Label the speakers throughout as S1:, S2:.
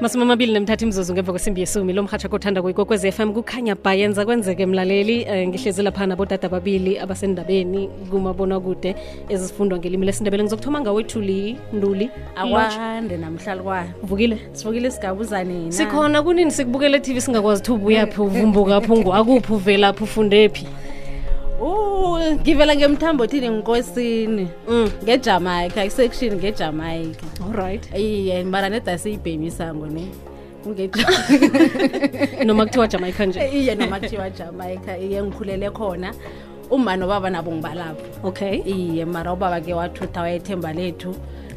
S1: masumi amabili nemthatha imzuzu ngemva kwesimbi yesumi lo mhatsha kothanda kuyikokwez f m kukhanya bha yenza kwenzeke mlaleli um ngihlezi lapha nabodada ababili abasendabeni kumabonakude ezifundwa ngelimi lesindebele ngizokuthoma ngawethuli nduli
S2: akwande namhlali kwayo
S1: vukile
S2: sivukile sigabuzane na
S1: sikhona kunini sikubukela etv singakwazi thi ubuyaphi
S2: Mm.
S1: uvumbukaphi akuphi uvelaphi ufundephi
S2: Uh, ngivela ngemthambo thini ngikosini
S1: Mm.
S2: ngejamaica isection ngejamaica
S1: allright
S2: iye mara neda siyibhemisango ne kunge
S1: noma kuthiwa jamaica nje
S2: iye noma kuthiwa jamaica iye ngikhulele khona uma nobaba nabo ngibalapho
S1: okay
S2: iye mara ubaba ke wathutha wayethemba lethu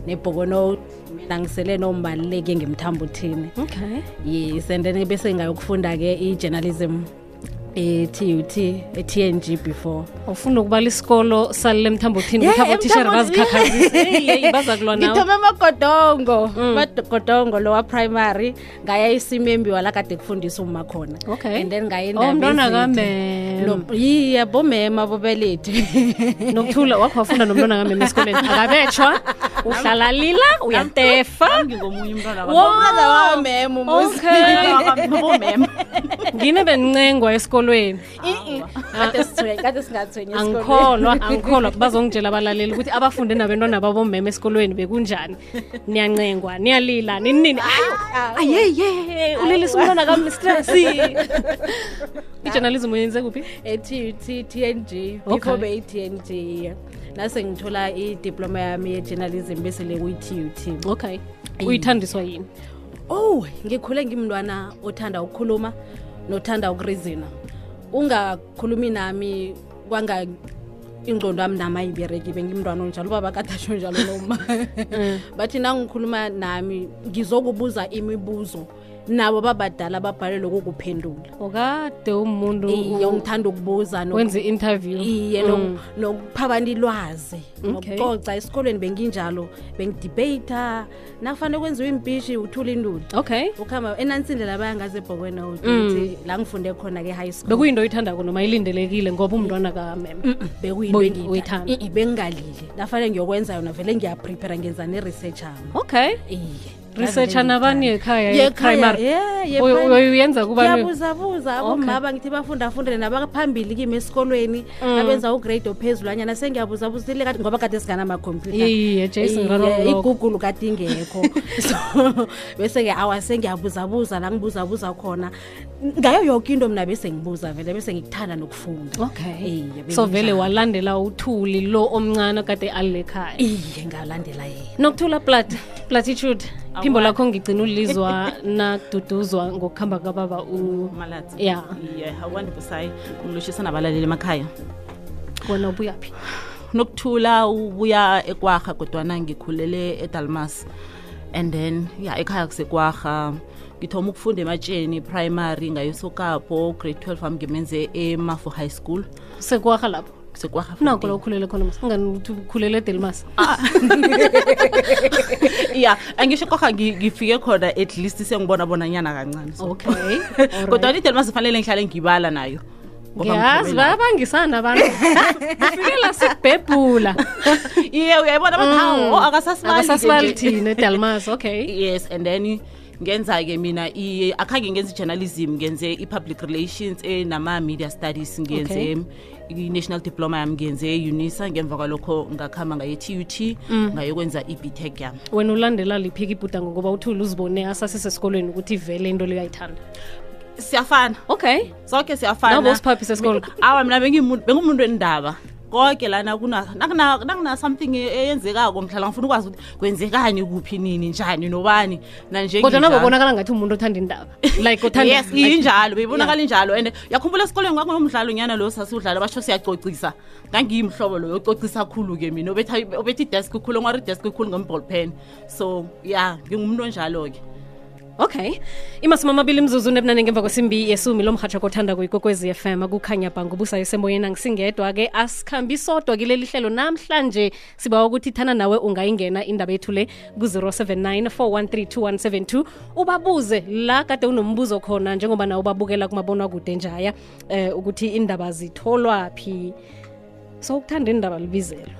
S2: nebhokono mina ngisele nombaluleke ngemthambo thini
S1: okay
S2: yes and then bese ngayokufunda ke i-journalism e-tut e-tng before
S1: awufuni ukubala isikolo salele mthambothini
S2: Yeah,
S1: ukuthi abotishara
S2: eMthambothini.
S1: bazikhakhazise Hey, le, baza Mm. kulwa nawe
S2: ngithome amagodongo amagodongo lowa primary ngaya isimembiwa lakade kufundisa uma khona
S1: Okay.
S2: and then ngaya
S1: Oh, mntwana kaMema.
S2: yiye bomema bobelethi
S1: nokuthula wakho wafunda nomntwana kamema esikoleni akabetshwa uhlala lila uyatefa
S3: ngomunye umntwana
S1: Wo-
S2: umntwana wamema umuzi
S1: okay
S3: bomema
S1: ngine bencengwa esikolweni
S2: kade sithwe- kade singathwenyi
S1: angikholwa angikholwa bazongitshela abalaleli ukuthi abafunde nabentwana babomema esikolweni bekunjani niyancengwa niyalila nini nini ayeye ulilisa umntwana kamstresi ijournalism uyenze kuphi
S2: E e-tut tng
S1: Okay.
S2: before E beyi-tng iye nase ngithola idiploma yami ye-journalism bese le kuyi-tut
S1: okay uyithandiswa yini
S2: oh ngikhule ngimntwana othanda ukukhuluma nothanda ukurizina ungakhulumi nami kwanga ingcondo yami namayibereki bengimntwana onjalo ubaba katasho njalo noma bathi nangikhuluma nami ngizokubuza imibuzo nabo babadala babhalelwe kukuphendula
S1: ukade umuntu
S2: iye ngithanda ukubuza noku-
S1: wenze i-interview
S2: iye no- nokuphabana ilwazi
S1: Okay.
S2: nokucoca esikolweni benginjalo bengidibeyitha nakufanele kwenziwa impishi uthula induli
S1: okay
S2: ukuhamba enansindlela bayangazi ebhokweni ukuthi la ngifunde khona ke high school
S1: bekuyinto oyithandako noma ilindelekile ngoba umntwana kamema
S2: bekuyinto
S1: Boy-
S2: engiyitha-
S1: uyithanda.
S2: I- i- bengingalili lafanele ngiyokwenza yona vele ngiyaprepare ngenza ne-research ami
S1: okay
S2: iye
S1: researcha nabani ekhaya e-primary Uy- uyoyenza
S2: uyoyenza
S1: kubani?
S2: kubangiyabuzabuza abomaba ngithi bafunda afundele nabaphambili kimi esikolweni
S1: Mm.
S2: abenza ugrade ophezulu anyana sengiyabuzabuza ile kade- ngoba kade singanamakompyuta
S1: Iye, Jason Raroll lokho.
S2: igugulu kade ingekho so bese-ke awa sengiyabuzabuza la ngibuzabuza khona ngayo yonke into mna bese ngibuza vele bese ngikuthanda nokufunda
S1: okay
S2: Iye,
S1: so vele
S2: benginjalo.
S1: walandela uthuli lo omncane kade alilekhaya
S2: iye ngalandela yena
S1: nokuthula plat platitude phimbo lakho ngigcina ulizwa nakududuzwa ngokuhamba kababa u
S3: malatsi
S1: ya
S3: iye akwandi busayi ngilotshisa nabalaleli emakhaya
S1: kona ubuyaphi
S3: nokuthula ubuya ekwarha kodwana ngikhulele edalmas and then ya ekhaya kusekwarha ngithoma ukufunda ematsheni primary ngayesokapo grade 12 ami ngimenze emafo high school
S1: sekwarha lapho
S3: kusekwarha
S1: nako la ukhulele khona mas ungani ukuthi ukhulele edelmas
S3: ya angisho kwarha ngi- ngifike khona at least sengibona bona nyana kancane so
S1: okay alright.
S3: kodwana idelmas fanele ngihlale ngibala nayo ngoba
S1: ngiyazi
S3: ngiphumelela.
S1: bayabangisana abantu ufikela sikubhebhula
S3: iye uyayibona bathi hawo
S1: Mm. akasasibali
S3: akasasibali
S1: thina edalmas okay
S3: yes and then ngenza-ke mina i- akhange ngenze i-journalism ngenze i-public relations enama-media studies
S1: Okay.
S3: ngenze i-national diploma yami ngenze e-unisa ngemva kwalokho ngakuhamba ngaye-t u t ngayokwenza i-btec yami
S1: wena ulandela liphika ibhuda ngokuba uthule uzibone asasesesikolweni ukuthi vele into leyo ayithanda
S3: siyafana
S1: okay
S3: soke siyafana
S1: Nabo usiphaphisa esikolo.
S3: Mi- awa mina bengimu- bengumuntu endaba koke lana kuna- nakuna- nakuna something e- eyenzekako mhlala ngifuna ukwazi ukuthi kwenzekani kuphi nini njani nobani nanje
S1: kodwa
S3: nginjalo.
S1: nabobonakala ngathi umuntu othanda indaba like othanda
S3: yes injalo beyibonakala injalo and yakhumbula esikolweni kwakunomdlalo nyana lo sasiwudlala basho siyacocisa ngangiyimhlobo lo yococisa khulu-ke mina obetha- obetha idesk khulu onwari idesk khulu ngemball pen so ya ngingumntu onjalo-ke
S1: okay imasumi amabili mzuzu nebunane ngemva kwesimbi yesumi lo mrhatsha kothanda kuyikokwezi fm akukhanya bhangubusa isemoyeni angisingedwa-ke asikhambi sodwa kileli hlelo namhlanje siba ukuthi thana nawe ungayingena indaba yethu le ku-079 4132172 ubabuze la kade unombuzo khona njengoba nawe ubabukela kumabonwakude njaya eh, um ukuthi indaba zitholwa phi so ukuthanda indaba libizelo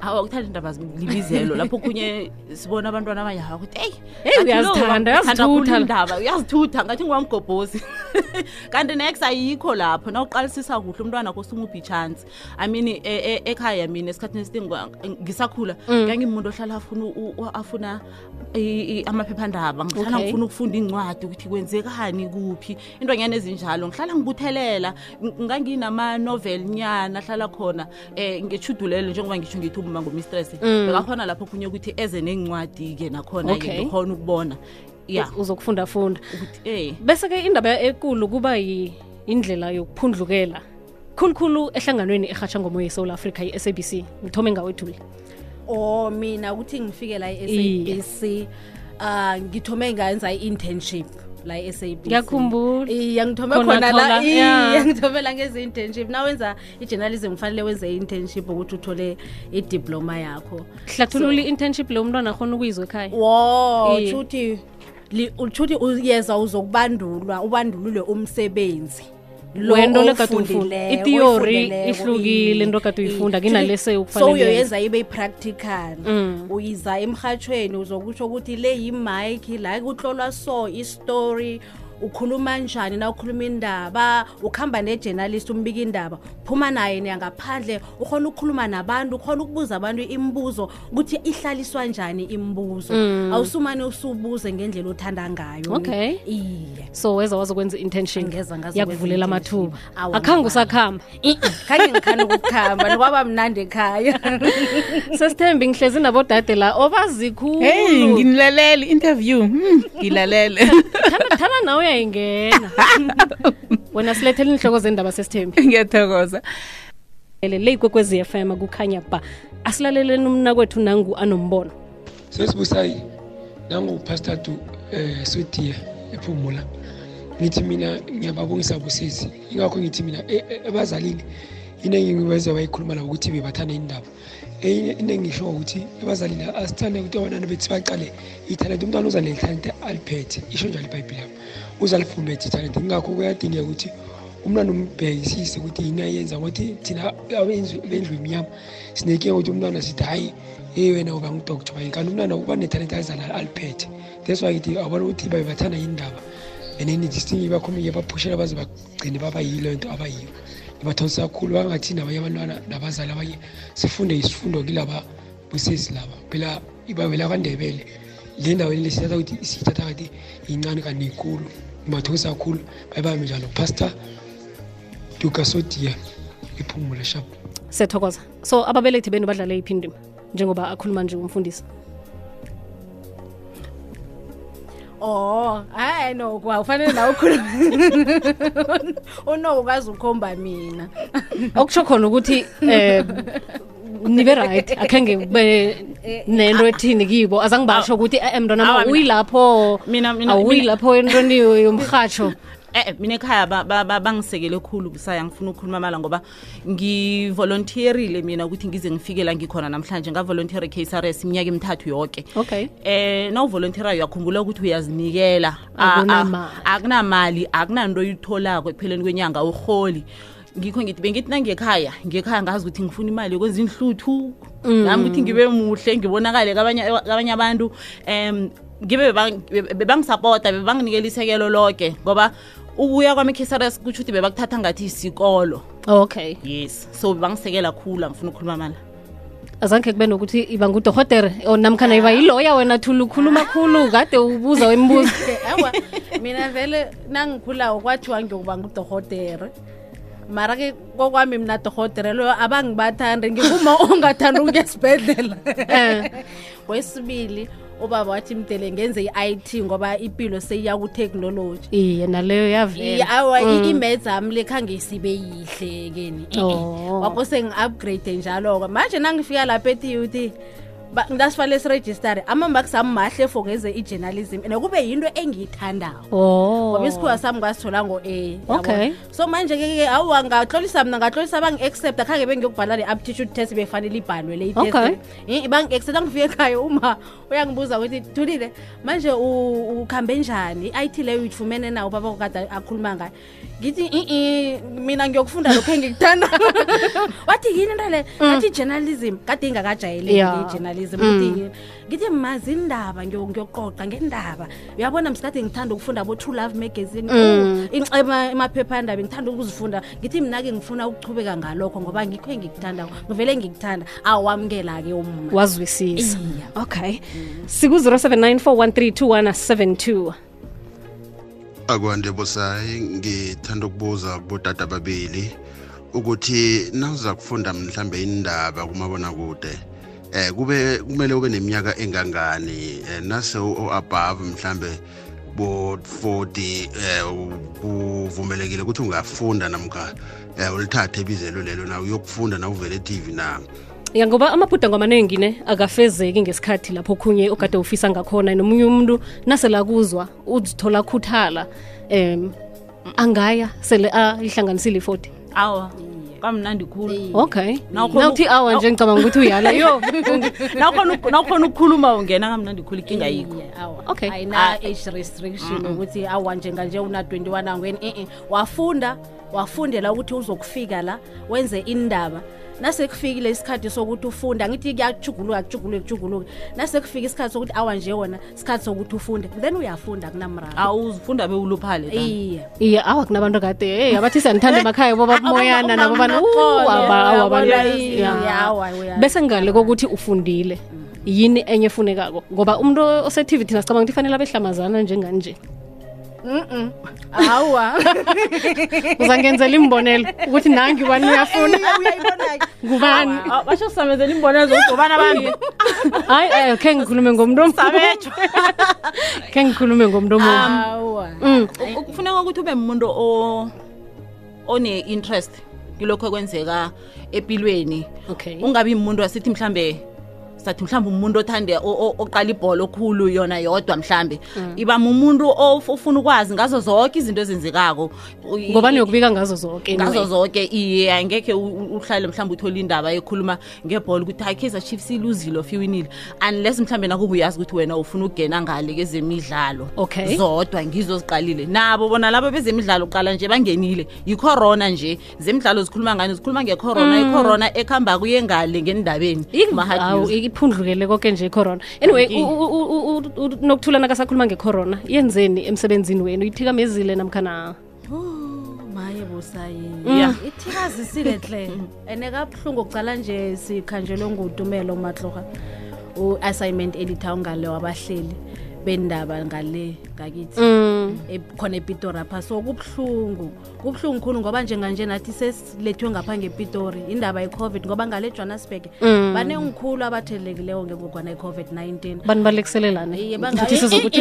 S3: awa kuthanda indaba libizelo lapho kunye sibona abantwana abanye hawa kuthi eyi
S1: Hey,
S3: ngathi lo
S1: uyazithanda,
S3: uthanda khulu
S1: uyazithutha."
S3: iindaba uyazithutha ngathi ngiwamgobhosi kanti nex ayikho lapho na uqalisisa kuhle umntwana kosume uphi itshansi i mean e- e- ekhaya mina esikhathini esiningi kwa- ngisakhula
S1: Mm.
S3: ngangimuntu ohlala afuna u- u- afuna i- i- amaphephandaba ngihlala
S1: Okay.
S3: ngifuna ukufunda incwadi ukuthi kwenzekani kuphi intwanyana ezinjalo ngihlala ngibuthelela Ng- nganginama-novel nyana ahlala khona um ngechudulelo njengoba ngisho ngithi uma ngumistress bekakhona lapho okunye ukuthi eze nencwadi-ke nakhona-ke
S1: Mm. Okay.
S3: ngikhona ukubona ya
S1: uzokufundafunda
S3: ukuthi eh
S1: bese-ke indaba ekulu kuba yi- indlela yokuphundlukela khulukhulu ehlanganweni erhatsha ngomoya esouth africa i-sabc ngithome ngawethule
S2: or Oh, mina ukuthi ngifike la e
S1: Iye.
S2: e-sabc um ngithome ngayenza i-internship la e e-sabc
S1: Ngiyakhumbula.
S2: iya ngithome
S1: Khona
S2: khona
S1: thola,
S2: la
S1: yeah.
S2: iye ngithome la ngeze-internship na wenza i-journalism kufanele wenze i-internship ukuthi uthole idiploma yakho
S1: hlathulula i-internship leyo umntwana akhona ukuyizwa ekhaya
S2: wo
S1: Iye.
S2: shuthi shuthi uyeza uzokubandulwa ubandulule umsebenzi lo
S1: Wento le kade
S2: owufundileyo,
S1: uyifunda. I-theory
S2: oyifundeleko,
S1: ihlukile,
S2: iye,
S1: into kade uyifunda,
S2: iye.
S1: kunale
S2: Shuthi-
S1: sewukufanele
S2: so
S1: uyenze.
S2: uyoyenza ibe i-practical
S1: Mm.
S2: uyiza emhatshweni uzokutsho ukuthi le yimike la kutlolwa so istori ukhuluma njani na ukhuluma indaba ukuhamba nejournalist umbika indaba phuma naye niyangaphandle ukhona ukukhuluma nabantu ukhona ukubuza abantu imibuzo ukuthi ihlaliswa njani imibuzo awusumane usubuze ngendlela othanda ngayo
S1: Mm. Okay.
S2: iye
S1: so weza wazokwenza i-internship
S2: Angeza ngaze
S1: yakuvulela
S2: kwenza i-internship.
S1: amathuba
S2: Awa,
S1: akhange
S2: ngibani.
S1: usakuhamba
S2: khange ngikhani ukukuhamba nokwaba mnandi ekhaya
S1: sesithembi ngihlezi nabodade la obazikhulu
S4: heyi nginilalele i-interview hmm, ngilalele
S1: Thana- thana nawe uyayingena wena silethela inhloko zendaba sesithembi
S4: ngiyathokoza
S1: le ikwekwezi fm kukhanya ba asilaleleni umna kwethu nangu anombono
S5: sesibusayi nangupastor tu eh swetiya ephumula ngithi mina ngiyababongisa busisi ingakho ngithi mina e- e- ebazalini iningi ngiweze wayikhuluma la ukuthi bebathanda indaba enye into engisho ukuthi ebazalini asithande ukuthi abantwana bethu baqale ithalente umntwana uza nethalente aliphethe isho njalo ibhayibhile yami uzalifumbethe ithalente ingakho kuyadingeka ukuthi umntwana umbhekisise ukuthi yini ayenza ngokuthi thina abendlu bendlu imnyama sinenkinga ukuthi umntwana sithi hhayi eyi wena uba ngudoktor bayi kanti umntwana uba nethalente alizala aliphethe that's why ngithi abona ukuthi babe bathanda yindaba and then distingi bakhomike baphushela baze bagcine babayiyo nto abayiyo ibathonisa kakhulu bangathini abanye abantwana nabazali abanye sifunde isifundo kilaba busesi laba phela ibabela kwandebele le ndaweni lesithatha ukuthi siyithatha kathi yincane kaniyikhulu ibathonisa kakhulu bayibame njalo pastor dukasodia iphumule shap
S1: sethokoza so ababelethi benu badlale iphi indima njengoba akhuluma nje umfundisi
S2: Oh, hayi no, kwa ufanele la ukhuluma. Uno ukwazi ukhomba mina.
S1: okutsho khona ukuthi um nibe right akhenge kube nento ethini kibo azangibasho ukuthi e-e
S3: Awa,
S1: mntwana
S3: mina-
S1: uyilapho
S3: Mina- mina- mina-
S1: awuyilapho entweni yomrhatsho
S3: Eh eh, mina ekhaya ba- ba- ba- bangisekele khulu busaya ngifuna ukukhuluma mala ngoba ngivolonteerile mina ukuthi ngize ngifike la ngikhona namhlanje ngavolonteera KSRS iminyaka emithathu yonke.
S1: okay
S3: Eh nawuvolonteera uyakhumbula ukuthi uyazinikela A- a-
S1: Akunamali.
S3: Ah, akunamali akunanto oyitholako ekupheleni kwenyanga uholi ngikho ngithi bengithi nangekhaya ngekhaya ngazi ukuthi ngifuna imali yokwenza inhluthu nami ukuthi ngibe muhle ngibonakale kabanye kabanye abantu um ngibe bebang- be- bebangisapota bebanginikela isekelo loke ngoba ukuya kwami ekhesares kutsho ukuthi bebakuthatha ngathi isikolo
S1: okay
S3: yes so bebangisekela khulu angifuna ukukhuluma mala
S1: azange kube nokuthi iba ngudohotere or namkhana iba yiloya wena thula ukhuluma khulu kade ubuza wembuzo
S2: Awa, mina vele nangikhula kwathiwa ngiyokuba ngudohotere. Mara ke kokwami mina dohotere loyo abangibathandi ngikuma ongathanda ukuyesibhedlela. Wesibili ubaba wathi mdele ngenze i-IT ngoba impilo seyiya ku-technology.
S1: iye naleyo yavela
S2: awa i-imeds ami le khange sibe yihle keni
S1: Oh.
S2: wakho sengi-upgrade njalo-ke manje nangifika lapho ethiyuthi ba- ngasifanele siregistare ama-marks ami mahle for ngeze i-journalism and kube yinto engiyithandako
S1: oh
S2: ngoba isikhuwa sami ngasithola ngo-a
S1: Okay.
S2: yabo. so manje-ke-ke awu ngatlolisa mna ngatlolisa bangi-accepta khange bengiyokubhala le-aptitude test befanele ibhalwe le i-test
S1: Okay.
S2: le. I- bangi-accepta ngifike ekhaya uma uyangibuza ukuthi thulile manje u- ukhambe njani i t leyo uyithumene nawo ubaba kokade akhuluma ngayo ngithi i mina ngiyokufunda lokhu engikuthanda wathi yini into le ngathi i-journalism kade ingakajayeleki
S1: Mm. Yeah.
S2: i-journalism
S1: Mm.
S2: ukuthi yini ngithi mazi indaba ngiyo- ngiyoqoqa ngendaba uyabona msikade ngithanda ukufunda abo-true love magazine
S1: Mm.
S2: imaphephandaba ngithanda ukuzifunda ngithi mna-ke ngifuna ukuchubeka ngalokho ngoba ngikho engikuthandako ngivele ngikuthanda awamkela-ke umma
S1: wazwisisa okay siku-079 413
S6: akwande bosayi ngithanda ukubuza kubodada ababili ukuthi nawuza kufunda mhlambe indaba kumabona kude eh kube kumele ube neminyaka engangani eh, nase o above mhlambe bo 40 eh uvumelekile ukuthi ungafunda namkha eh ulithathe ibizelo lelo na uyokufunda na uvele TV na
S1: ya ngoba amabhudangwa amaningi ne akafezeki ngesikhathi lapho okhunye okade ufisa ngakhona nomunye umuntu naselakuzwa uzithola khuthala um angaya sele ayihlanganisile i-40
S3: awa kamnandi khulu
S1: okay
S3: Nawukhona
S1: nawuthi awa nje ngicabanga ukuthi uyala yo
S3: Nawukhona uk- nawukhona ukukhuluma ungena kamnandi khulu ikinga yikho
S2: Yeah, awa.
S1: Okay.
S2: ayina-age restriction ukuthi awa njenganje una-21 angweni e-e wafunda wafundela ukuthi uzokufika la wenze indaba nasekufike isikhathi sokuthi ufunda ngithi kuyajuguluka kujuguluke kujuguluke nasekufika isikhathi sokuthi awa nje wona isikhathi sokuthi ufunde then uyafunda kunamraro
S3: awuzifunda bewuluphale Dani.
S2: iye
S1: iye awa kunabantu kade hey abathi siyanithanda emakhaya boba moyana nabo bana "Uh, aba- awa, abantu." Yeah. bese ngale kokuthi ufundile yini enye efunekako ngoba umuntu ose-tv thina sicabanga ukuthi fanele abehlamazana njenganje
S2: awa
S1: uzangenzela imbonelo ukuthi nangi ubani uyafuna ngubani
S3: Ah, basho samezela imbonelo zokugobana bami
S1: hayi eh, khe ngikhulume ngomntu omu-
S3: sabetsho
S1: khe ngikhulume ngomntu omunye
S2: awa
S1: Hmm.
S3: U- ah, kufuneka ukuthi ube umuntu o- one-interest kilokho ekwenzeka empilweni
S1: okay
S3: ungabi umuntu asithi mhlambe sathi mhlambe umuntu othande o- o- oqala ibhola okhulu yona yodwa mhlambe
S1: Mm.
S3: iba umuntu ofuna ukwazi ngazo zonke izinto ezenzekako U- i-
S1: ngoba niyokubika ngazo zonke anyway.
S3: ngazo zonke iye angekhe u- u- uhlale mhlawumbe uthole indaba ekhuluma ngebhola ukuthi hayi kaizer chiefs iluzile of iwinile unless mhlawumbe nakuba uyazi ukuthi wena ufuna ukugena ngale kezemidlalo
S1: Okay.
S3: zodwa ngizo ziqalile nabo bona laba bezemidlalo qala nje bangenile yicorona nje zemidlalo zikhuluma ngani zikhuluma ngecorona
S1: Mm.
S3: icorona ekuhamba kuye ngale ngendabeni Kuma-hard
S1: awu
S3: news.
S1: iphundlukele konke nje icorona anyway
S3: Inkinga.
S1: u- u- u- u- u- nokuthula nakasakhuluma ngecorona yenzeni emsebenzini wenu ithikamezile namkhana
S2: Oh, maye busayi
S3: Yeah.
S2: ithikazisile hle ene kabuhlungu kucala nje sikhanjelwe ngutumelo matloga u-assignment edita ngale wabahleli bendaba ngale ngakithi
S1: mm.
S2: e- khona epitori apha so kubuhlungu kubuhlungu khulu ngoba njenganje nathi sesilethwe ngapha ngepitori indaba ye-covid ngoba ngale johannesburg
S1: Mm.
S2: banengikhulu abathelekileyo ngengogwana ye-covid-19
S1: bani balekuselelane
S2: Iye, banga-
S1: ukuthi sizokuthi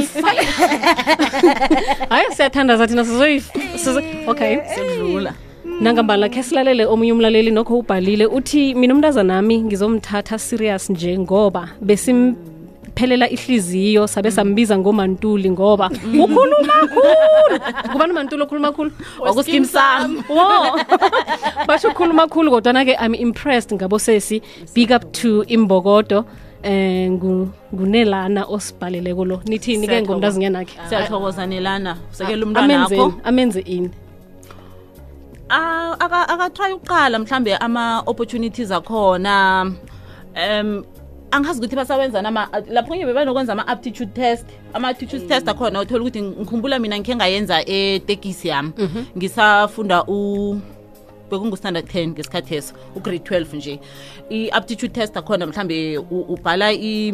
S1: hayi siyathandaza thina sizoyif- sizo- okay
S2: Eh,
S3: Sedlula.
S1: Hmm. nangambala khe silalele omunye umlaleli nokho ubhalile uthi mina umntazanami ngizomthatha serious nje ngoba besimphelela ihliziyo sabe
S3: Hmm.
S1: sambiza ngomantuli ngoba ukhuluma khulu ngubani umantuli okhuluma khulu
S3: Wakuskim Sam.
S1: wo basho ukhuluma khulu kodwana-ke i'm impressed ngabosesi big up to imbokodo eh ngu- ngunelana osibhaleleko lo nithini-ke
S3: Siyathokoza.
S1: ngomntazinyanakhe
S3: siyathokozanelana usekela umntwanakho
S1: amenze amenze ini
S3: Ah, aka- akatrayi ukuqala mhlambe ama-opportunities akhona um angazi ukuthi basawenzani ama- lapho kunye bebanokwenza ama-aptitude test ama-aptitude test akhona uthole ukuthi ngikhumbula mina ngikhe ngayenza etekisi yami ngisafunda u bekungu-standard 10 ngesikhathi eso ugrade 12 nje i-aptitude test akhona mhlambe u- ubhala i-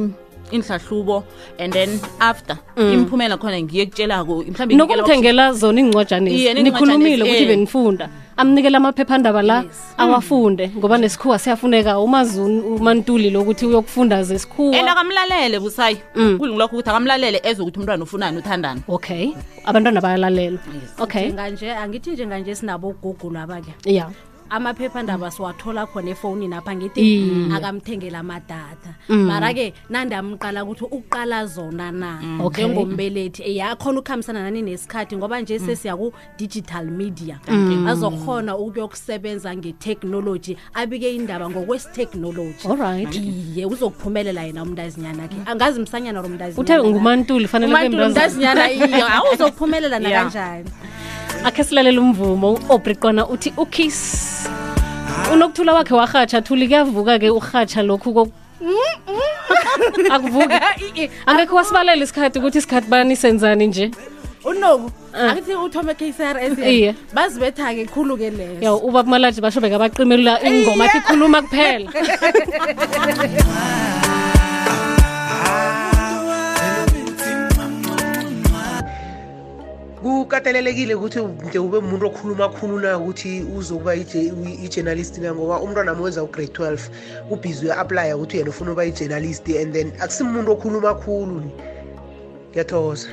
S3: inhlahlubo and then after imphumela khona ngiye kutshelako mhlawumbe ngikela bakuthi-
S1: nokumthengela zona
S3: Iye,
S1: iy'ncwajanezi
S3: neencwajanezi,
S1: nikhulumile ukuthi
S3: eh. Mm.
S1: benifunda amnikele amaphephandaba la awafunde ngoba nesikhuwa siyafuneka umazuni umantuli lokuthi uyokufunda
S3: and
S1: zesikhuwa
S3: akamlalele busayi kulungilokho ukuthi akamlalele eze ukuthi umntwana ufunani uthandani
S1: okay abantwana bayalalela okay
S2: njenganje angithi njenganje sinabo google abake
S1: ya
S2: amaphephandaba siwathola khona efowunini apha ngithi
S1: Iye.
S2: akamthengela amadatha
S1: Mm.
S2: mara-ke nandamqala ukuthi uqala zona na
S1: Mm. Okay. Mm.
S2: njengombelethi eyakhona ukuhambisana nani nesikhathi ngoba nje sesiyaku-digital media azokhona ukuyokusebenza ngetechnology abike indaba ngokwesitechnology
S1: Alright.
S2: iye uzokuphumelela yena umntazinyana akhe angazi msanyana or umntazinyana
S1: uthe ngumantuli fanele kube
S2: umantulu
S1: mntazana.
S2: mntazinyana iyo awuzokuphumelela
S4: Yeah.
S2: nakanjani
S1: akhe silalela umvumo u-obriqona uthi ukiss unokuthula wakhe warhatsha thuli kuyavuka-ke urhatsha lokhu ko-
S3: Mm,
S1: akuvuki angekho wasibalela isikhathi ukuthi isikhathi bani senzani nje
S2: unobu
S1: Ah.
S2: akithi uthome kcrs
S1: Iye.
S2: bazibetha-ke khulu-ke leso
S1: ya uba kumalaji basho bekabaqimelela ingoma athi khuluma kuphela
S7: kukatelelekile ukuthi nje ube umuntu okhuluma khulula ukuthi uzokuba ije- uyi- i-journalist na ngoba umntwana mwenza ugrade 12 ubhizi uya-aplya ukuthi yena ufuna uba i-journalist and then akusimuntu okhuluma khulu ni ngiyathokoza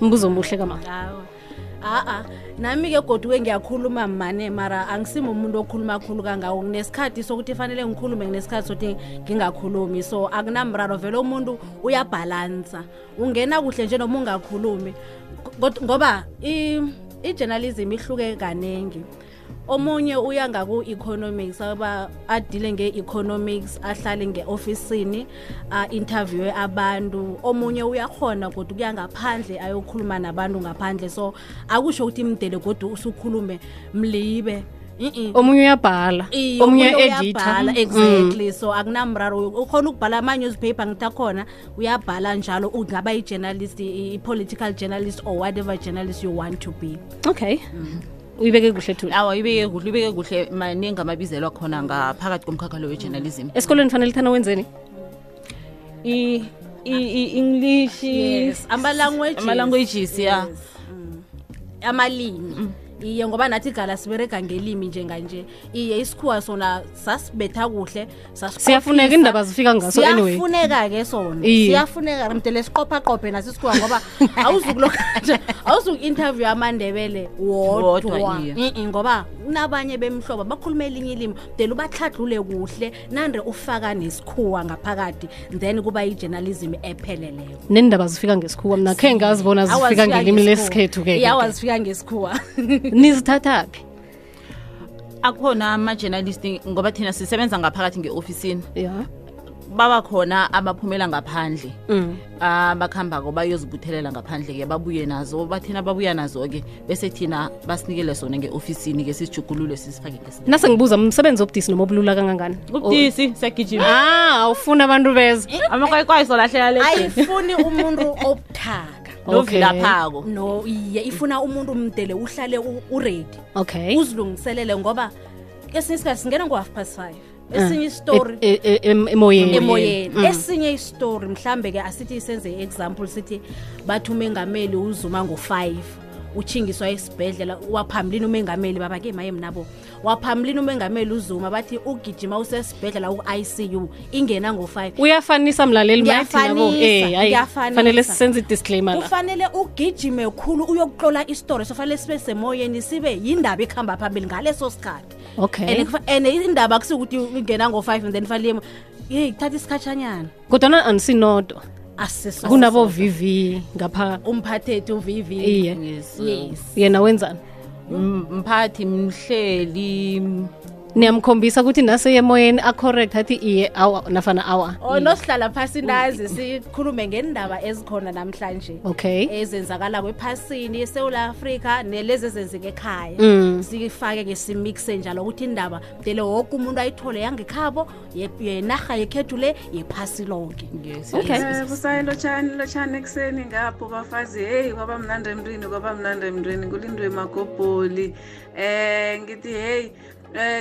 S1: mbuzo muhle kama
S2: awa a-a nami-ke goduke ngiyakhuluma mane mara angisimi umuntu okhuluma khulu kangako nginesikhathi sokuthi fanele ngikhulume nginesikhathi sokuthi ngingakhulumi so akunamraro vele umuntu uyabhalansa ungena kuhle nje noma ungakhulumi Ngod- ngoba i- i-journalism ihluke kaningi omunye uya ngaku-economics aba adile nge-economics ahlale nge-ofisini a-interviewe abantu omunye uyakhona kodwa ukuya ngaphandle ayokhuluma nabantu ngaphandle so akusho ukuthi imdele kodwa usukhulume mlibe Mm-mm.
S1: omunye uyabhala
S2: Iye,
S1: omunye
S2: uyabhala,
S1: editha Mm.
S2: exactly so akunamraro ukhona ukubhala ama-newspaper ngithi akhona uyabhala njalo ungaba i-journalist i- i-political journalist or whatever journalist you want to be
S1: Mm. okay
S2: Mm-hmm.
S1: uyibeke kuhle thuli
S3: awa ibeke kuhle ibeke kuhle maningi amabizelwa khona ngaphakathi komkhakhalo we-journalism
S1: esikolweni fanele thana wenzeni
S3: i-english
S2: yes ama-languages
S3: ama-languages ya
S2: amalimi iye ngoba nathi gala siberega ngelimi njenganje iye isikhuwa sona sasibetha kuhle sasikhohlisa.
S1: Siyafuneka, iindaba zifika ngaso anyway.
S2: siyafuneka-ke sona
S1: Iye.
S2: siyafuneka mdele siqophaqophe naso isikhuwa ngoba awuzukulokaja awuzuku-interview amandebele wodwa
S3: Wodwa, iye.
S2: Mm, mm, ngoba kunabanye bemhlobo bakhuluma elinye ilimi mdele ubatlhadlule kuhle nandre ufaka nesikhuwa ngaphakathi then kuba i-journalism epheleleyo
S1: nendaba zifika ngesikhuwa mna khe ngazibona
S2: Awa,
S1: zifika ngelimi lesikhethu-ke
S2: Iyawa, zifika ngesikhuwa
S1: nizithathaphi
S3: akhona ama-journalist ngoba thina sisebenza ngaphakathi nge-ofisini
S1: ya
S3: baba khona abaphumela ngaphandle
S1: Mm.
S3: abakuhambako bayozibuthelela ngaphandle-ke babuye nazo bathina babuya nazo-ke bese thina basinikele sona nge-ofisini-ke sisijugulule sisifake ngesinye
S1: nase ngibuza msebenzi obudisi noma obulula kangangani
S3: ubutisi siyagijima
S1: ah awufuna abantu beza
S2: Eh.
S3: amakwayikwayi solahleka le
S2: ayifuni umuntu obuthaka
S1: Okay.
S3: novilaphako
S2: no iye ifuna umuntu mdele uhlale u- uredi
S1: okay
S2: uzilungiselele ngoba esinye isikhathi singena ngo-half past five esinye
S1: E-
S2: istori
S1: e- e- em- emoyeni Mm.
S2: emoyeni Eh. esinye istori mhlambe-ke asithi senze i-example sithi bathi umengameli uzuma ngo-five uchingiswa esibhedlela waphambilini umengameli babake maye mnabo waphambilini umengameli uzuma bathi ugijima usesibhedlela ku-icu ingena ngo-five
S1: uyafanisa mlaleli mathi nabo
S2: Ngiyafanisa,
S1: Eh, hayi,
S2: ngiyafanisa.
S1: fanele sisenze i-disclaimer la
S2: kufanele ugijime khulu uyokutlola isitori sofanele sibe semoyeni sibe yindaba ekuhamba phambili ngaleso sikhathi
S1: okay
S2: And kufa- and indaba kusukuthi ungena ngo-five and then fanele ye kuthatha isikhatshanyana
S1: kodwana andisinodwa
S2: asiso
S1: kunabo vv ngapha
S2: umphathethi uvivi
S1: iye
S3: Yes.
S2: yes
S1: yena wenzani
S3: M- mphathi mhleli
S1: niyamkhombisa ukuthi nase emoyeni acorrect athi iye awa nafana awa
S2: Oh, nosihlala phasi nazi sikhulume ngendaba ezikhona namhlanje Eh,
S1: okay
S2: ezenzakala kwephasini esewula afrika nelezi ezenzeka ekhaya
S1: Mm.
S2: sifake-ke simikse njalo ukuthi indaba dele woke umuntu ayithole yangekhabo ye- yenarha yekhethu le yephasi lonke
S3: yes
S1: Okay.
S3: yes.
S8: busayi lotshani lotshani ekuseni ngapho bafazi heyi kwaba mnandi emntwini kwaba mnandi emntwini kulindwe magobholi um eh, ngithi heyi um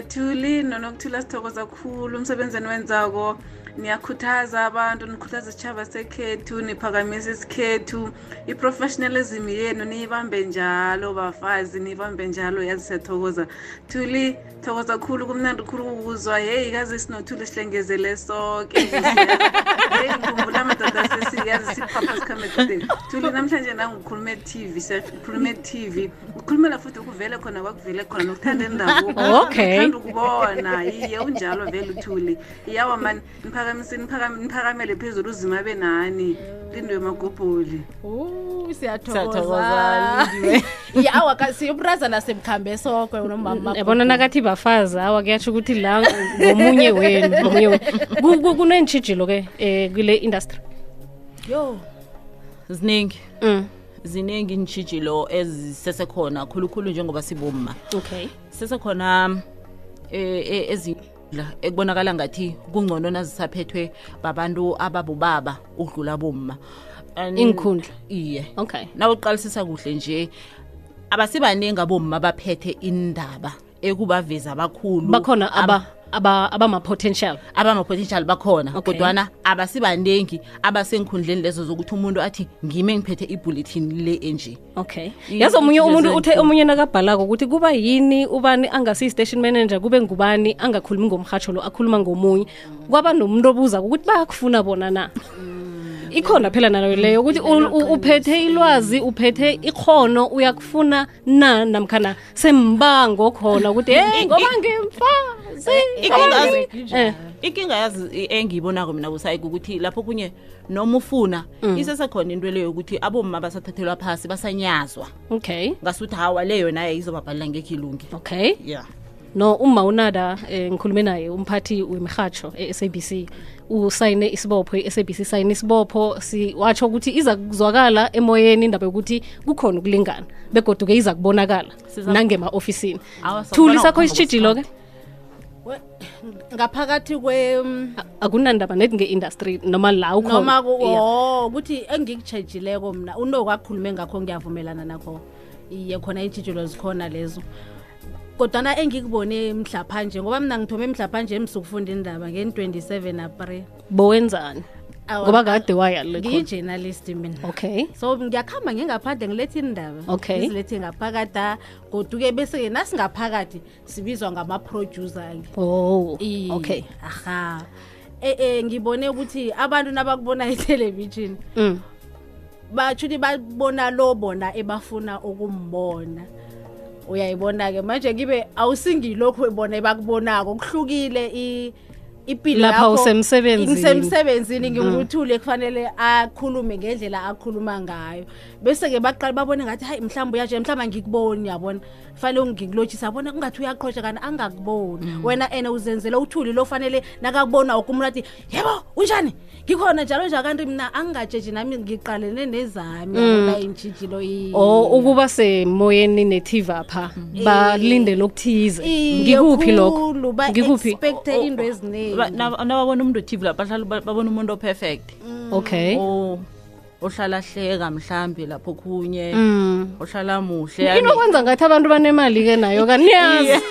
S8: thuli nonokuthula sithokoza khulu umsebenzi eniwenzako niyakhuthaza abantu nikhuthaza isitshaba sekhethu niphakamisa isikhethu i-professionalism yenu niyibambe njalo bafazi niyibambe njalo yazi siyathokoza thuli thokoza khulu kumnandi khulu ukuzwa heyi kazi sinothuli sihlengezele soke heyi ngikhumbula amadoda sesiyazi siphapha sikhambe equdeni thuli namhlanje nangikhuluma e-tv sikhuluma e-tv ukhulumela futhi ukuvele khona kwakuvele khona nokuthanda endabuko
S1: Okay.
S8: Ngithanda ukubona iye unjalo vele uthuli iyawa mani niphakamise niphakam- niphakamele phezulu uzima be nani lindwe magobholi
S2: Uh,
S3: Siyathokoza, Lindiwe.
S2: yawa ka- siyobrazana semkhambe sokwe nomama
S1: yabona nakathi bafazi awa kuyatsho ukuthi la ngomunye wenu ngomunye wenu kunentshijilo-ke um kule industry
S2: yo
S3: ziningi
S1: Mm,
S3: ziningi intshijilo ezisesekhona khulukhulu njengoba siboma
S1: okay
S3: sesekhona ezidla e, ekubonakala ngathi kungcono nazisaphethwe babantu ababobaba ukudlula bomma And-
S1: Iinkhundla.
S3: iye
S1: okay
S3: nawuqalisisa kuhle nje abasibaningi abomma abaphethe indaba ekubaveza abakhulu
S1: bakhona aba- aba- abama-potential
S3: abama-potential bakhona
S1: Okay.
S3: kodwana abasibaningi abasenkhundleni lezo zokuthi umuntu athi ngime ngiphethe ibulletin le enje
S1: okay
S3: Iye,
S1: yazi omunye
S3: iintjhijilo
S1: umuntu uthe
S3: zenkulu.
S1: omunye nakabhalako ukuthi kuba yini ubani angasiyi-station manager kube ngubani angakhulumi ngomrhatsho lo akhuluma ngomunye kwaba nomuntu obuza ukuthi bayakufuna bona na ikhona phela nalo leyo ukuthi u- u- uphethe ilwazi uphethe ikhono uyakufuna na namkhana sembango khona ukuthi hey ngoba ngimfazi
S3: Ikhona-
S1: Eh,
S3: inkinga yazi i- engiyibonako mina busayi ukuthi lapho kunye noma ufuna
S1: Mm.
S3: isesekhona into leyo yokuthi abomma basathathelwa phasi basanyazwa
S1: okay
S3: ngasuthi hawa leyo naye izobabhalela ngekho ilungi
S1: okay
S3: ya
S1: no uma unada eh, ngikhulume naye umphathi wemirhatsho e-sabc usayine isibopho i-sabc sayine isibopho si, watsho ukuthi iza kuzwakala emoyeni indaba yokuthi kukhona ukulingana begoduke iza kubonakala
S3: Siza-
S1: nangema-ofisini
S3: Awa, sakubona
S1: thuli sakho
S3: ngokuhamba
S1: isitshijilo-ke
S2: we- ngaphakathi kwe mm,
S1: A- akunandaba nethi nge-industry noma la ukhona.
S2: noma ku-
S1: Yeah.
S2: oh, ukuthi engikutshejileko mna unoko akhulume ngakho ngiyavumelana nakho iye khona iintshijilo zikhona lezo kodwana engikubone mhlaphanje ngoba mna ngithome mhlaphanje msukufunda indaba ngen-27 april
S1: bowenzani ngoba kade waya le khona.
S2: ngiyi-journalist mina
S1: okay
S2: so ngiyakuhamba ngingaphandle ngiletha indaba
S1: Okay.
S2: ngizilethe ngaphakada goduke bese-ke nasingaphakathi sibizwa ngama-producer-ke
S1: oh
S2: Iye,
S1: okay
S2: aha Eh, eh ngibone ukuthi abantu nabakubona ithelevishini
S1: mm.
S2: bathuthi babona lo bona ebafuna ukumbona uyayibona-ke manje ngibe awusingilokhu bona ebakubonako kuhlukile i- ipilo
S1: Lapha
S2: yakho.
S1: usemsebenzini.
S2: ngisemsebenzini
S1: Mm.
S2: ngikuthule kufanele akhulume ngendlela akhuluma ngayo bese-ke baqala babone ngathi hayi mhlawumbe uyaje mhlawumbe angikuboni yabona fanele ungikulotshisa abone kungathi uyaqhosha kana
S1: Mm.
S2: angakuboni wena ene uzenzele uthuli lo fanele nakakubona woke umuntu athi yebo unjani ngikhona njalo nje kanti mna angingatsheji nami ngiqalene
S1: Mm.
S2: nezami yabona intshijilo i-
S1: or ukuba semoyeni nethiva pha balindele okuthize
S2: Mm. Iye,
S1: ngikuphi lokho
S2: khulu, ba-
S1: ngikuphi Oh,
S2: expecte into
S1: Eh.
S3: Ba-
S2: eziningi
S3: na- nababona umuntu otv la bahlala ba- babona umuntu operfect
S1: okay
S3: O- ohlalahleka mhlawumbi lapho khunye
S1: Mm.
S3: ohlala muhle
S1: yini okwenza ngathi abantu banemali-ke nayo kaniyazi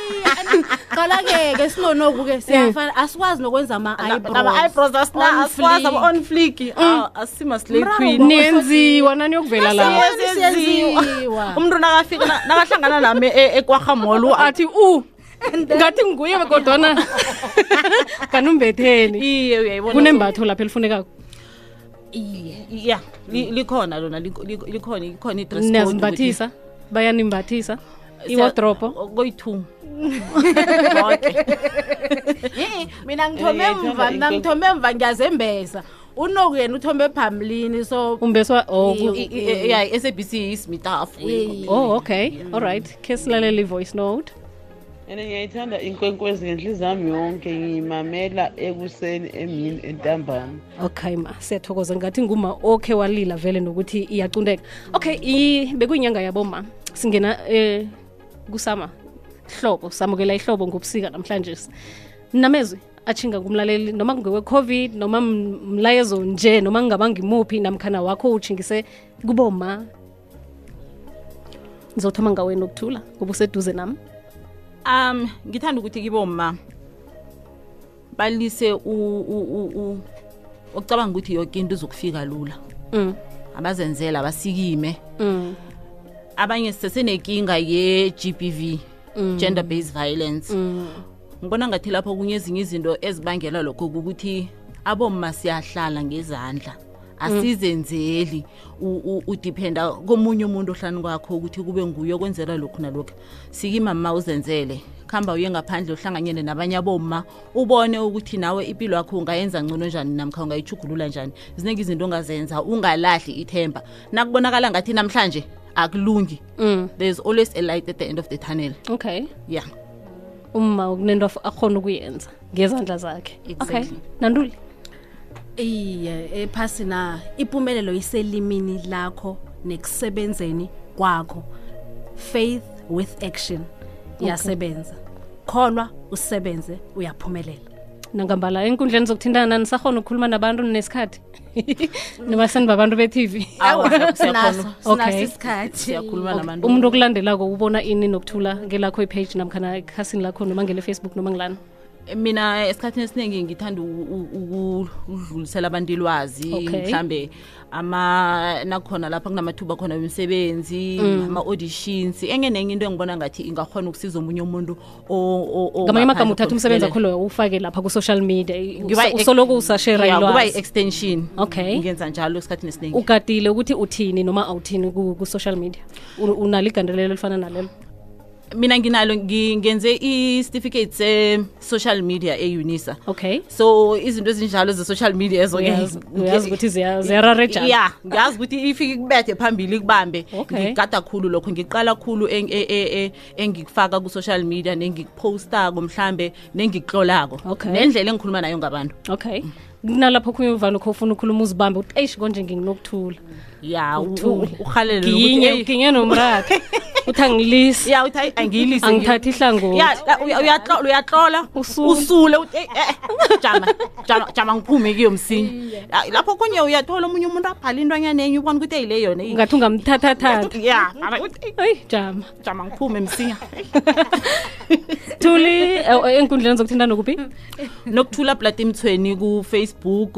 S2: qala-ke ke
S1: Mm.
S2: singonoku-ke siyafana asikwazi nokwenza ama-eyebrows
S3: ayibrosasinaaswazi
S2: On
S3: abo-on fleek Ah, asima-slay
S2: Mraro
S3: queen
S1: niyenziwa naniyokuvelela lawo
S3: Yes, yenziwa.
S2: Yenziwa.
S3: umuntu nakafika na- nakahlangana nami e- ekwarhamolo athi u
S1: Oh, "Uh, ngathi nguye kodwana kanumbetheni
S3: iye uyayibona
S1: kunembatho lapho elifunekako
S3: ya li- likhona lona liko- liko- likhona likhona i-dress code
S1: niyazimbathisa bayanimbathisa
S3: ukuthi-
S1: iwodropo
S3: koyi-two
S2: mina ngithome mva mina ngithome mva ngiyazembesa unoku yena uthombe phambilini so
S1: umbeswa oh, ku-
S2: Iye.
S3: ya i-sabc ismitafu
S1: oh okay all right khe silalele i-voice note
S4: and ngiyayithanda inkwenkwezi ngenhliziyo yami yonke ngiyimamela ekuseni emini entambama
S1: okay ma siyathokoza ngathi nguma okhe walila vele nokuthi iyacundeka okay i- bekuyinyanga yaboma singena eh kusama hlobo samukela ihlobo ngobusika namhlanje namezwi achinga kumlaleli noma kungewe-covid noma m- mlayezo nje noma kungaba ngimuphi namkhana wakho uchingise kuboma ngizothoma ngaweni okuthula ngoba useduze nami
S3: um ngithanda ukuthi kiboma balise u- u- u- u- ukucabanga ukuthi yonke into izokufika lula
S1: Mm.
S3: abazenzela basikime
S1: Mm.
S3: abanye sesenenkinga ye-gbv gender based violence ngibona ngathi lapho kunye ezinye izinto ezibangela lokho kukuthi aboma siyahlala ngezandla asizenzeli u- u- udiphenda komunye umuntu ohlani kwakho ukuthi kube nguye okwenzela lokhu nalokhu sikimama uzenzele kuhamba uye ngaphandle uhlanganyele nabanye aboma ubone ukuthi nawe impilo yakho ungayenza ngcono njani namkha ungayijugulula njani ziningi izinto ongazenza ungalahli ithemba nakubonakala ngathi namhlanje akulungi
S1: Mm.
S3: there's always a light at the end of the tunnel
S1: okay
S3: yeah
S1: uma kunento af- akhona ukuyenza ngezandla zakhe
S3: Exactly.
S1: okay nanduli
S2: iye ephasina impumelelo iselimini lakho nekusebenzeni kwakho faith with action iyasebenza kholwa usebenze uyaphumelela
S1: nangambala enkundleni zokuthintana nisahona ukukhuluma nabantu nesikhathi niba senibabantu be-tv
S3: Awa, siyakhona.
S2: sinaso sinaso
S1: Okay.
S2: isikhathi
S3: siyakhuluma nabantu
S1: umuntu okulandelako ubona ini nokuthula ngelakho ipage namkhana ekhasini lakho noma ngele-facebook noma ngilani
S3: mina esikhathini esiningi ngithanda uku- uku- ukudlulisela abantu ilwazi
S1: Okay.
S3: mhlambe ama nakhona lapha kunamathuba khona wemisebenzi
S1: Mm.
S3: ama-auditions enye nenye into engibona ngathi ingakhona ukusiza omunye umuntu o- o-
S1: ngamanye
S3: ongaphandle
S1: amagama uthatha umsebenzi wakho
S3: kokuphumelela.
S1: loyo ufake lapha ku-social media i-
S3: Ngiba i-
S1: usoloku usashera
S3: Yeah, kuba
S1: ilwazi
S3: i-extension
S1: Okay.
S3: ngenza njalo esikhathini esiningi
S1: ugadile ukuthi uthini noma awuthini ku- ku-social media U- unalo igandelelo elifana nalelo
S3: mina nginalo ngi- ngenze i-certificate se-social media e-unisa
S1: okay
S3: so izinto ezinjalo ze-social media ezo-ke
S1: Uyazi- uyazi ukuthi ziya- ziyararejana.
S3: ya ngiyazi ukuthi ifike ikubethe phambili ikubambe
S1: Okay.
S3: ngigada khulu lokho ngiqala khulu eng- e- e- e- engikufaka ku-social media nengikuphostako mhlambe nengikuhlolako
S1: Okay.
S3: nendlela engikhuluma nayo ngabantu
S1: okay kunalapho khunye uvalo kho ufuna ukhuluma uzibambe uthi eish konje nginokuthula
S3: ya u-
S1: Uthule.
S3: u- urhalele nokuthi,
S1: nginye
S3: "Ey,
S1: nginye nomrakhe uthi angilisi
S3: ya uthi hayi angiyilise
S1: Angithathi ihlangothi.
S3: Ya, uya- uyatlola uyatlola
S1: Usule.
S3: usule uthi, "Ey, eh, eh, jama jama jama ngiphume kiyo msinya Ya, lapho kunye uyathola omunye umuntu abhale intwanyana enye ubona ukuthi eyile yona eyi,
S1: ngathi ungamthathathatha
S3: ya mara uthi, "Ey,
S1: eyi jama
S3: jama ngiphume msinya
S1: thuli eh, eh, enkundleni zokuthintana kuphi
S3: nokuthula plati mthweni kufacebook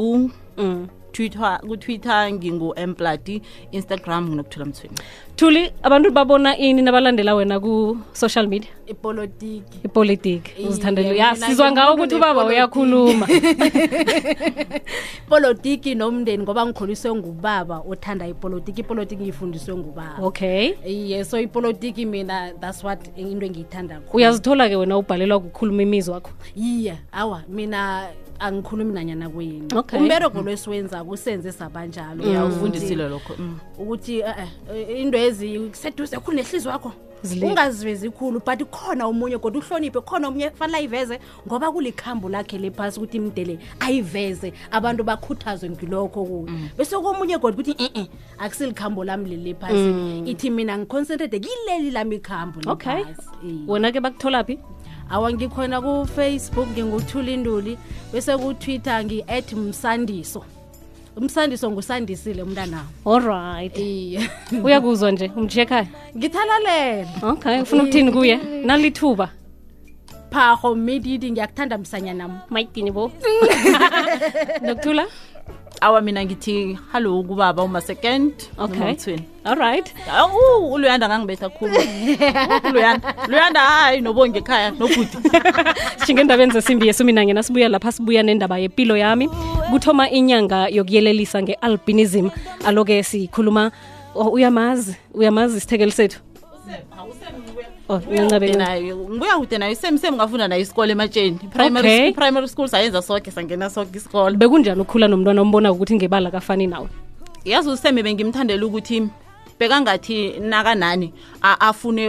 S1: mm.
S3: twitter kutwitter ngingu-emplati instagram nginokuthula mthweni
S1: thuli abantu babona ini nabalandela wena ku-social media
S2: ipolitiki
S1: ipolitiki uzithandela
S2: Iye,
S1: ya
S2: mina
S1: sizwa ngawo
S2: ngimuntu
S1: ukuthi ubaba
S2: nepolitiki.
S1: uyakhuluma
S2: ipolitiki nomndeni ngoba ngikhuliswe ngubaba othanda ipolitiki ipolitiki ngiyifundiswe ngubaba
S1: okay
S2: iye so ipolitiki mina that's what into engiyithanda khulu
S1: uyazithola-ke wena ubhalelwa kukhuluma imizwa wakho
S2: iye awa mina angikhulumi nanyana kuyini
S1: Okay. Mm.
S2: umbereko lwesiwenza kusenze sabanjalo
S3: ya
S2: Ukuthi-
S3: ufundisile lokho mm.
S2: ukuthi eh, eh, into ezikuseduze khulu nehliziyo yakho
S1: Zilile.
S2: ungazivezi khulu but kukhona omunye kodwa uhloniphe kukhona omunye fanele ayiveze ngoba kulikhambo lakhe lephasi ukuthi imdele ayiveze abantu bakhuthazwe ngilokho kuyo
S1: Mm.
S2: bese komunye kodwa ukuthi e-e akusilikhambo lami leli lephasi ithi mina ngiconcentrate kileli lami ikhambo
S1: Mm. okay
S2: lephasi. Iye.
S1: wena-ke bakutholaphi
S2: awa ngikhona kufacebook nginguthulinduli bese kutwitter ngi-at msandiso umsandiso ngusandisile umntanawo
S1: allright
S2: iye
S1: uyakuzwa nje umjekhaya
S2: ngithalalela
S1: okay ufuna ukuthini kuye nalithuba
S2: phaho mididi ngiyakuthanda msanya nam
S1: mayitini bo nokuthula
S3: awa mina ngithi hallo kubaba umasecond
S1: okay
S3: mthweni
S1: allright
S3: awu uluyanda ngangibetha khulu uluyanda luyanda hayi nobonge ekhaya nobhuti
S1: singendabeni zesimbi yesumina ngena sibuya lapha sibuya nendaba yempilo yami kuthoma inyanga yokuyelelisa nge-albinism alo-ke sikhuluma oh, uyamazi uyamazi isithekeli sethu Oh, Ncancabeni.
S3: nayo ngibuya kude nayo semsem ngafunda nayo isikole ematsheni primary
S1: Okay.
S3: primary school sayenza soke sangena soke isikole
S1: bekunjani ukukhula nomntwana ombona ukuthi ngebala kafani nawe
S3: yazi useme bengimthandela ukuthi bekangathi nakanani a- afune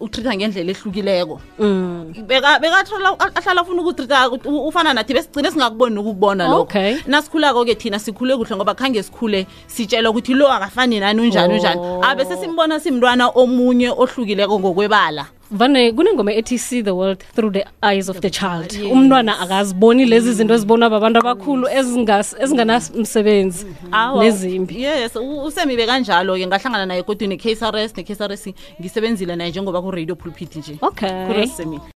S3: utreatha ngendlela ehlukileko
S1: mm.
S3: Beka- bekathola a- ahlala afuna ukutreatha ufana nathi besigcine singakuboni ukubona
S1: Okay.
S3: nasikhulako-ke thina sikhule kuhle ngoba khange sikhule sitshela ukuthi lo akafani nani unjani unjani
S1: Oh.
S3: abe sesimbona simntwana omunye ohlukileko ngokwebala
S1: vane kunengoma ethi see the world through the eyes of the child umntwana akaziboni lezi zinto ezibonwa babantu abakhulu ezingas- ezinganasimsebenzi
S3: Awa,
S1: nezimbi
S3: yes u- usemi bekanjalo-ke ngahlangana naye kodwa ne-ksrs ne-ksrs ngisebenzile naye njengoba ku-radio pulpit nje
S1: okay
S3: kurosemile